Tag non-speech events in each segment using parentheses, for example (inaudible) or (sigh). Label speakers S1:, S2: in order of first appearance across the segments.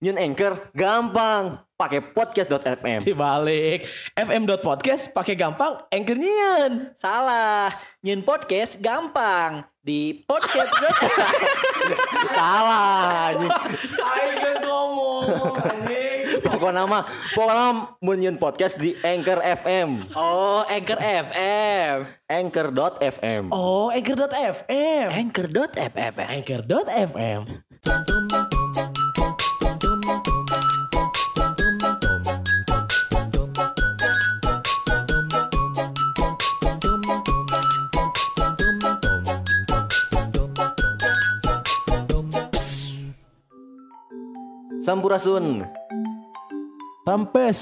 S1: Nyun Anchor gampang, pakai podcast.fm.
S2: Dibalik fm.podcast pakai gampang anchor nyian.
S3: Salah, nyun podcast gampang di podcast.
S1: Salah. anjing.
S2: Ayo ngomong anjing.
S1: Pokoknya nama, pokoknya nama mun Nyun Podcast di Anchor FM.
S3: oh, Anchor FM.
S1: Anchor.fm.
S2: Oh, anchor.fm.
S3: Anchor.fm.
S2: Anchor.fm.
S1: Sampurasun.
S2: Sampes.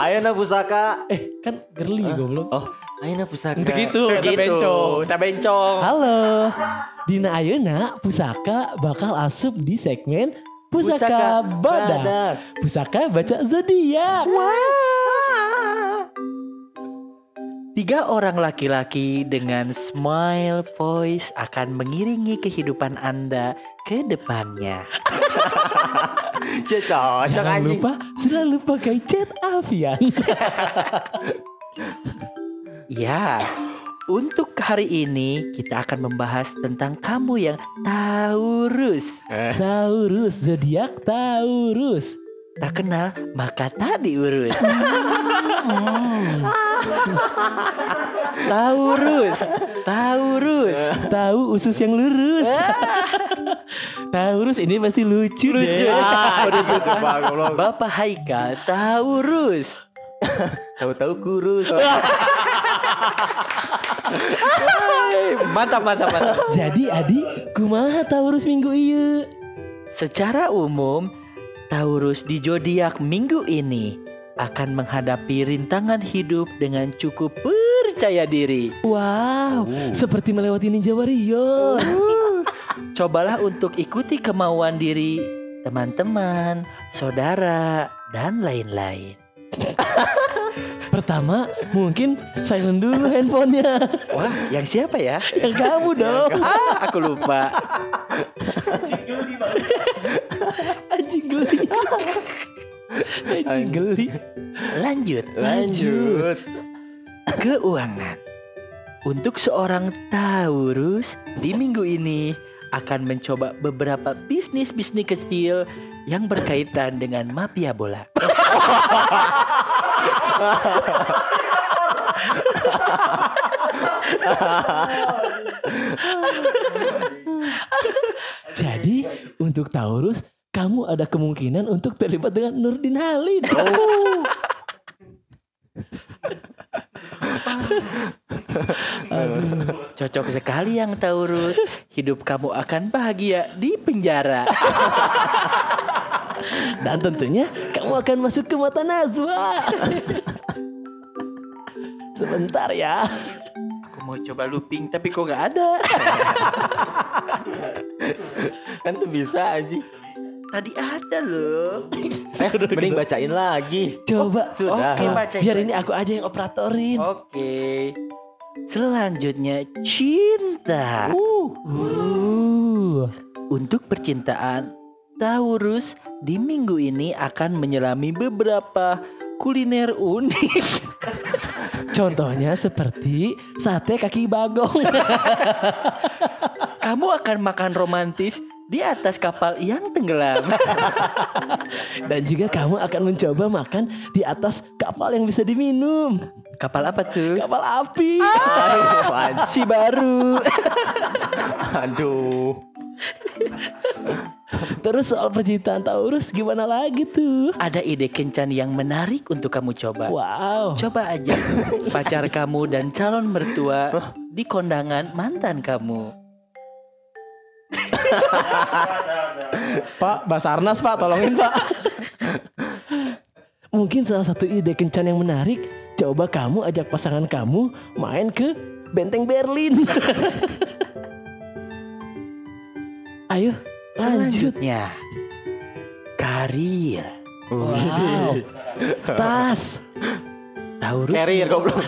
S1: Ayana pusaka.
S2: eh, kan girly goblok.
S1: Oh, Ayana pusaka.
S2: Begitu, kata
S3: Gitu,
S2: bencong.
S3: kita bencong.
S2: Halo. Dina Ayana Pusaka bakal asup di segmen Pusaka, Badak. Pusaka baca zodiak.
S3: Tiga orang laki-laki dengan smile voice akan mengiringi kehidupan Anda ke depannya.
S1: Cie, cocok
S2: Jangan
S1: anjing.
S2: lupa selalu pakai cat Avian.
S3: Ya, untuk hari ini kita akan membahas tentang kamu yang Taurus.
S2: Eh. Taurus zodiak Taurus.
S3: Tak kenal, maka tak
S2: (laughs)
S3: diurus.
S2: Hmm,
S3: Taurus, Taurus. Eh.
S2: tahu usus yang lurus. (laughs) Taurus ini pasti lucu, deh.
S1: Ah, udah tutup Pak, goblok.
S3: Bapak Haikal Taurus.
S1: Tahu-tahu kurus.
S3: Mantap, mantap, mantap.
S2: Jadi Adi, kumaha Taurus minggu ieu?
S3: Secara umum, Taurus di zodiak minggu ini akan menghadapi rintangan hidup dengan cukup percaya diri.
S2: Wow, seperti melewati Ninja Warrior.
S3: Cobalah untuk ikuti kemauan diri teman-teman, saudara, dan lain-lain.
S2: Pertama, mungkin silent dulu handphonenya.
S3: Wah, yang siapa ya?
S2: Yang kamu dong.
S3: Ah, aku lupa.
S2: Anjing geli. Anjing geli.
S3: Lanjut.
S1: Lanjut.
S3: Keuangan. Untuk seorang Taurus di minggu ini akan mencoba beberapa bisnis-bisnis kecil yang berkaitan dengan mafia bola.
S2: Jadi, untuk Taurus, kamu ada kemungkinan untuk terlibat dengan Nurdin Halid.
S3: Cocok sekali yang Taurus. Hidup kamu akan bahagia di penjara.
S2: Dan tentunya kamu akan masuk ke mata Najwa. Sebentar ya.
S3: Aku mau coba looping tapi kok nggak ada.
S1: Kan tuh bisa anjing.
S3: Tadi ada loh.
S1: Eh, mending bacain lagi.
S2: Coba
S1: Sudah.
S3: Oke, Oh.
S2: Ah,
S3: bacain,
S2: biar
S3: bacain.
S2: ini aku aja yang operatorin.
S3: Oke. Selanjutnya cinta.
S2: Uh.
S3: Untuk percintaan, Taurus di minggu ini akan menyelami beberapa kuliner unik. (laughs)
S2: Contohnya seperti sate kaki bagong. (laughs)
S3: Kamu akan makan romantis di atas kapal yang tenggelam. (laughs)
S2: Dan juga kamu akan mencoba makan di atas kapal yang bisa diminum.
S3: Kapal apa tuh?
S2: Kapal api.
S1: Ah. Aduh, anjing.
S3: Si baru.
S1: Aduh.
S2: Terus soal percintaan Taurus gimana lagi tuh?
S3: Ada ide kencan yang menarik untuk kamu coba.
S2: Wow.
S3: Coba aja (laughs) pacar kamu dan calon mertua di kondangan mantan kamu.
S2: Pak, Basarnas Pak, tolongin Pak. Mungkin salah satu ide kencan yang menarik, coba kamu ajak pasangan kamu main ke Benteng Berlin. (laughs) Ayo, lanjut.
S3: Selanjutnya, karir.
S2: Wow. (laughs) Tas.
S3: Taurus.
S1: Carrier goblok.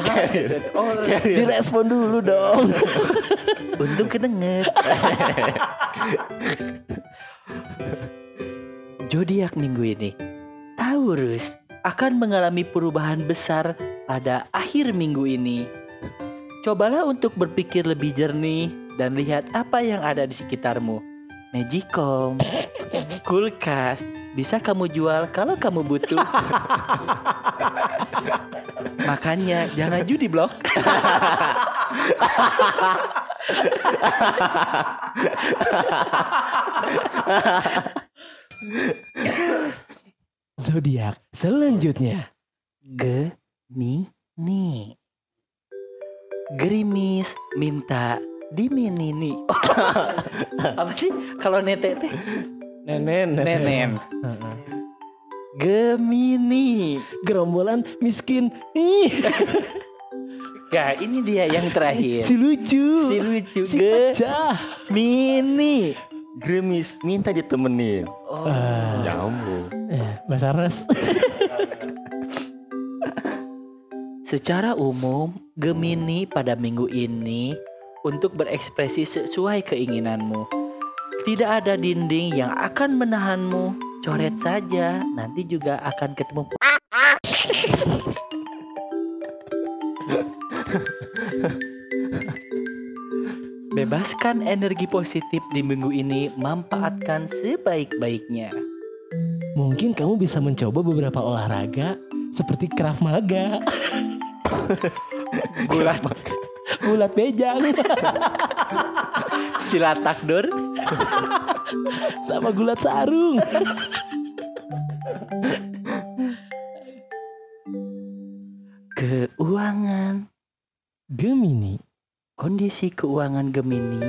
S1: Carrier.
S3: Oh, (laughs)
S2: Direspon dulu dong. (laughs)
S3: Untung kedenger zodiak minggu ini. Taurus akan mengalami perubahan besar pada akhir minggu ini. Cobalah untuk berpikir lebih jernih dan lihat apa yang ada di sekitarmu. Magicom, kulkas, bisa kamu jual kalau kamu butuh. Makanya jangan judi blok.
S2: Zodiak selanjutnya.
S3: Gemini. Gerimis minta diminini. (laughs) Apa sih kalau netek teh?
S2: Nenen.
S3: Nenen. Gemini.
S2: Gerombolan miskin. Ih,
S3: Nah, ini dia yang terakhir.
S2: Iya. si lucu.
S3: Si lucu
S2: Si
S3: Gemini.
S2: pecah.
S1: Grimis minta ditemenin.
S3: Oh.
S2: Ah.
S1: Nyambung.
S2: Eh, Mas Arnas.
S3: Secara umum, Gemini pada minggu ini untuk berekspresi sesuai keinginanmu. Tidak ada dinding yang akan menahanmu. Coret saja, nanti juga akan ketemu. p- (laughs) Bebaskan energi positif di minggu ini, manfaatkan sebaik-baiknya.
S2: Mungkin kamu bisa mencoba beberapa olahraga seperti Krav Maga,
S3: Gulat
S2: (laughs) gulat bejang, (laughs)
S3: silat takdur.
S2: sama gulat sarung.
S3: Keuangan.
S2: Gemini.
S3: Kondisi keuangan Gemini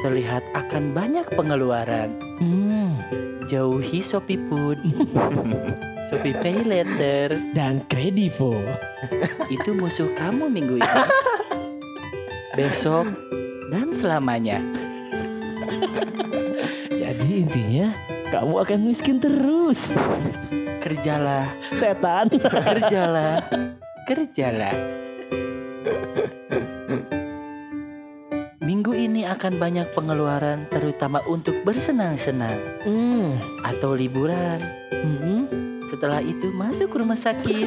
S3: terlihat akan banyak pengeluaran.
S2: Hmm,
S3: Jauhi Shopee Food, Shopee Pay Later,
S2: dan kredivo.
S3: itu musuh kamu minggu ini. Besok dan selamanya.
S2: Jadi intinya kamu akan miskin terus. (laughs)
S3: Kerjalah,
S2: Setan. (laughs)
S3: kerjalah, kerjalah. Minggu ini akan banyak pengeluaran terutama untuk bersenang-senang
S2: Hmm.
S3: atau liburan.
S2: hmm.
S3: Setelah itu masuk rumah sakit.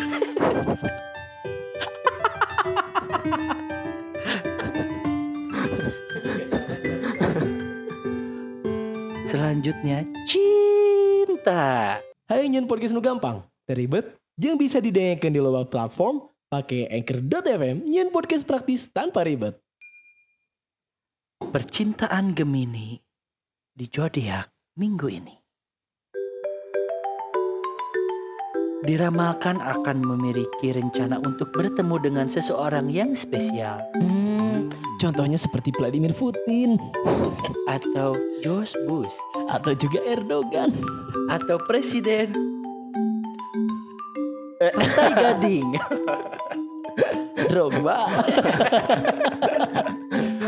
S3: Selanjutnya cinta.
S2: Hai ingin podcast nu gampang, teribet, yang bisa didengarkan di luar platform pakai anchor.fm nyen podcast praktis tanpa ribet.
S3: Percintaan Gemini di zodiak minggu ini. Diramalkan akan memiliki rencana untuk bertemu dengan seseorang yang spesial
S2: Hmm. Contohnya seperti Vladimir Putin
S3: atau Josh Bush.
S2: atau juga Erdogan.
S3: atau presiden Pantai Gading
S2: Drogba.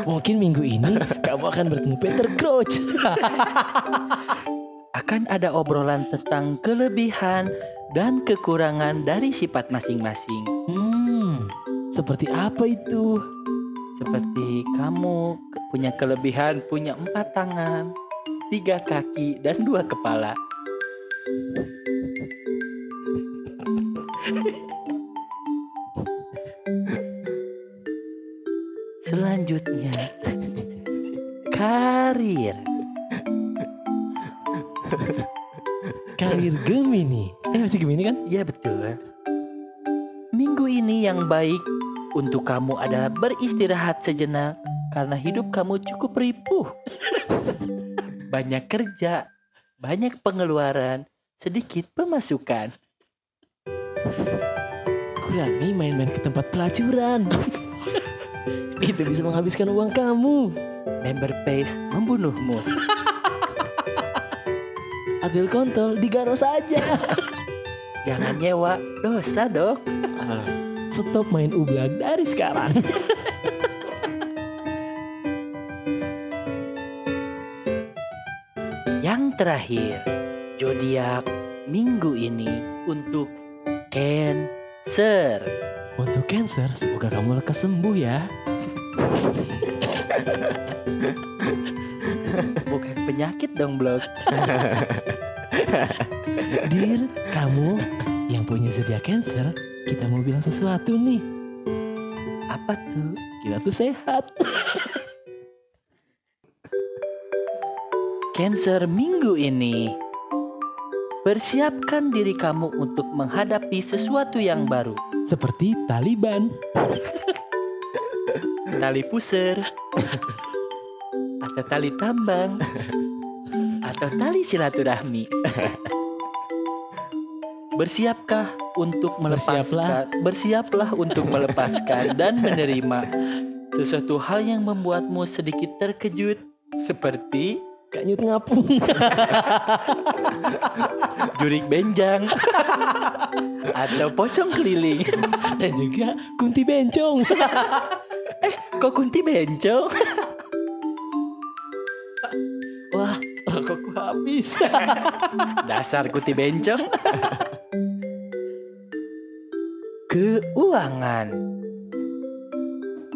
S2: Mungkin minggu ini kamu akan bertemu Peter Crouch.
S3: akan ada obrolan tentang kelebihan dan kekurangan dari sifat masing-masing
S2: Hmm, seperti apa itu?
S3: seperti kamu ke- punya kelebihan punya empat tangan tiga kaki dan dua kepala selanjutnya karir
S2: Karir Gemini. Eh masih Gemini kan?
S3: Ya betul. Minggu ini yang baik untuk kamu adalah beristirahat sejenak karena hidup kamu cukup ripuh. (laughs) banyak kerja, banyak pengeluaran, sedikit pemasukan.
S2: Kurangi main-main ke tempat pelacuran. itu bisa menghabiskan uang kamu.
S3: Member base membunuhmu.
S2: Ambil kontol, digaro saja.
S3: Jangan nyewa, dosa dok.
S2: Stop main ublak dari sekarang.
S3: Yang terakhir, zodiak minggu ini untuk Cancer.
S2: Untuk cancer, semoga kamu lekas sembuh ya.
S3: Bukan penyakit dong blog
S2: Dir, kamu yang punya zodiak cancer, kita mau bilang sesuatu nih.
S3: Apa tuh?
S2: Kita tuh sehat.
S3: Cancer minggu ini. Persiapkan diri kamu untuk menghadapi sesuatu yang baru.
S2: Seperti Taliban.
S3: Tali pusar. atau tali tambang. Atau tali silaturahmi. Bersiapkah untuk melepaskan bersiaplah. untuk melepaskan dan menerima sesuatu hal yang membuatmu sedikit terkejut seperti
S2: Kak Nyut ngapung. (laughs)
S3: jurik benjang atau pocong keliling
S2: Dan juga kunti bencong. (laughs)
S3: kok kunti bencong
S2: Wah, rokokku habis.
S3: dasar kunti bencong keuangan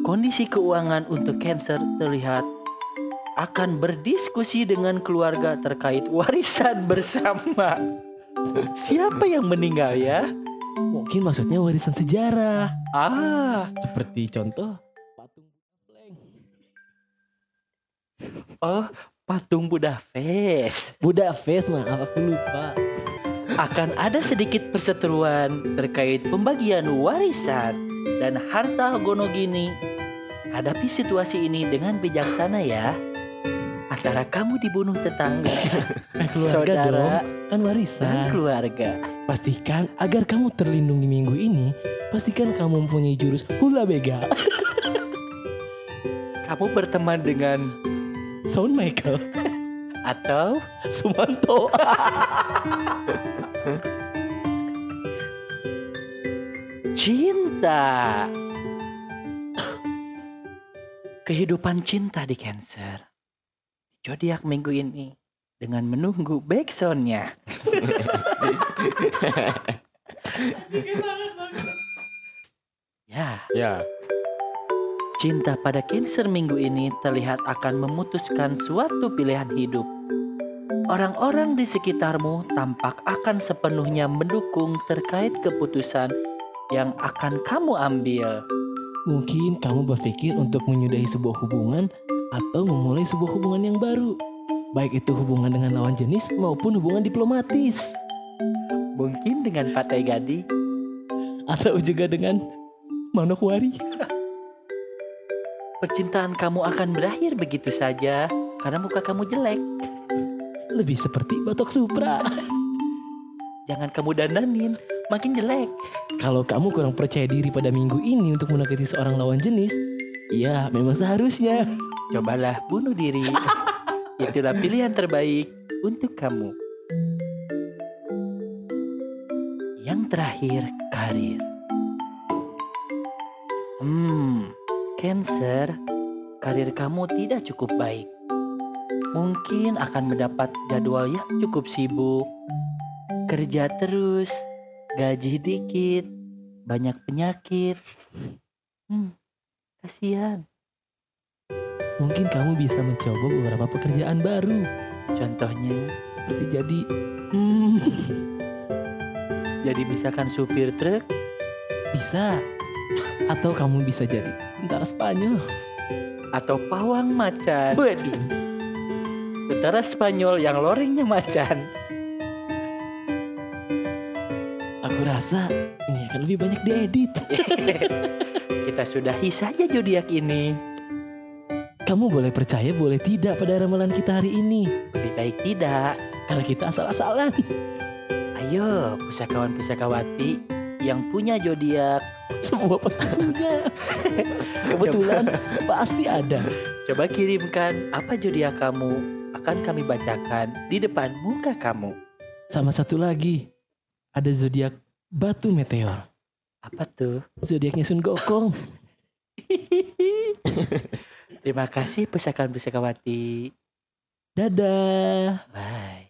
S3: kondisi keuangan untuk cancer terlihat akan berdiskusi dengan keluarga terkait warisan bersama siapa yang meninggal ya
S2: Mungkin maksudnya warisan sejarah.
S3: ah
S2: Seperti contoh patung Blank.
S3: Oh, patung Budapest.
S2: Buddha Face maaf aku lupa.
S3: Akan ada sedikit perseteruan terkait pembagian warisan dan harta gonogini. Hadapi situasi ini dengan bijaksana ya. Antara kamu dibunuh tetangga,
S2: Eh, (laughs) keluarga
S3: saudara,
S2: dong, kan
S3: dan
S2: warisan.
S3: keluarga.
S2: Pastikan agar kamu terlindungi minggu ini, pastikan kamu mempunyai jurus hula bega. (laughs)
S3: Kamu berteman dengan
S2: Sound Michael
S3: atau
S2: Sumanto.
S3: cinta. Kehidupan cinta di Cancer. Zodiak minggu ini dengan menunggu backsoundnya. Ya,
S1: Ya.
S3: cinta pada Cancer minggu ini terlihat akan memutuskan suatu pilihan hidup. Orang-orang di sekitarmu tampak akan sepenuhnya mendukung terkait keputusan yang akan kamu ambil.
S2: Mungkin kamu berpikir untuk menyudahi sebuah hubungan atau memulai sebuah hubungan yang baru. Baik itu hubungan dengan lawan jenis maupun hubungan diplomatis
S3: Mungkin dengan Patai Gadi
S2: atau juga dengan Manokwari.
S3: Percintaan kamu akan berakhir begitu saja karena muka kamu jelek.
S2: Lebih seperti Batok Supra.
S3: Jangan kamu dandanin, makin jelek.
S2: Kalau kamu kurang percaya diri pada minggu ini untuk mendekati seorang lawan jenis, ya memang seharusnya.
S3: Cobalah bunuh diri. Itulah pilihan terbaik untuk kamu. Yang terakhir, karir. Hmm, Cancer, karir kamu tidak cukup baik. Mungkin akan mendapat jadwal yang cukup sibuk. Kerja terus, gaji dikit, banyak penyakit. Hmm, kasihan.
S2: Mungkin kamu bisa mencoba beberapa pekerjaan baru,
S3: Contohnya,
S2: seperti jadi hmm, (laughs)
S3: jadi misalkan supir truk
S2: bisa atau kamu bisa jadi tentara Spanyol.
S3: atau pawang macan.
S2: Waduh,
S3: Tentara Spanyol yang lorengnya macan.
S2: aku rasa ini akan lebih banyak diedit.
S3: Kita sudahi saja zodiak ini.
S2: Kamu boleh percaya, boleh tidak pada ramalan kita hari ini.
S3: Lebih baik tidak.
S2: Karena kita asal-asalan.
S3: Ayo, pusakawan pusakawati yang punya zodiak,
S2: (laughs) Semua pasti punya. Kebetulan pasti ada.
S3: coba kirimkan apa zodiak kamu akan kami bacakan di depan muka kamu.
S2: Sama satu lagi, ada zodiak batu meteor.
S3: Apa tuh?
S2: Zodiaknya Sun Gokong.
S3: Terima kasih pusakawan pusakawati.
S2: Dadah.
S3: Bye.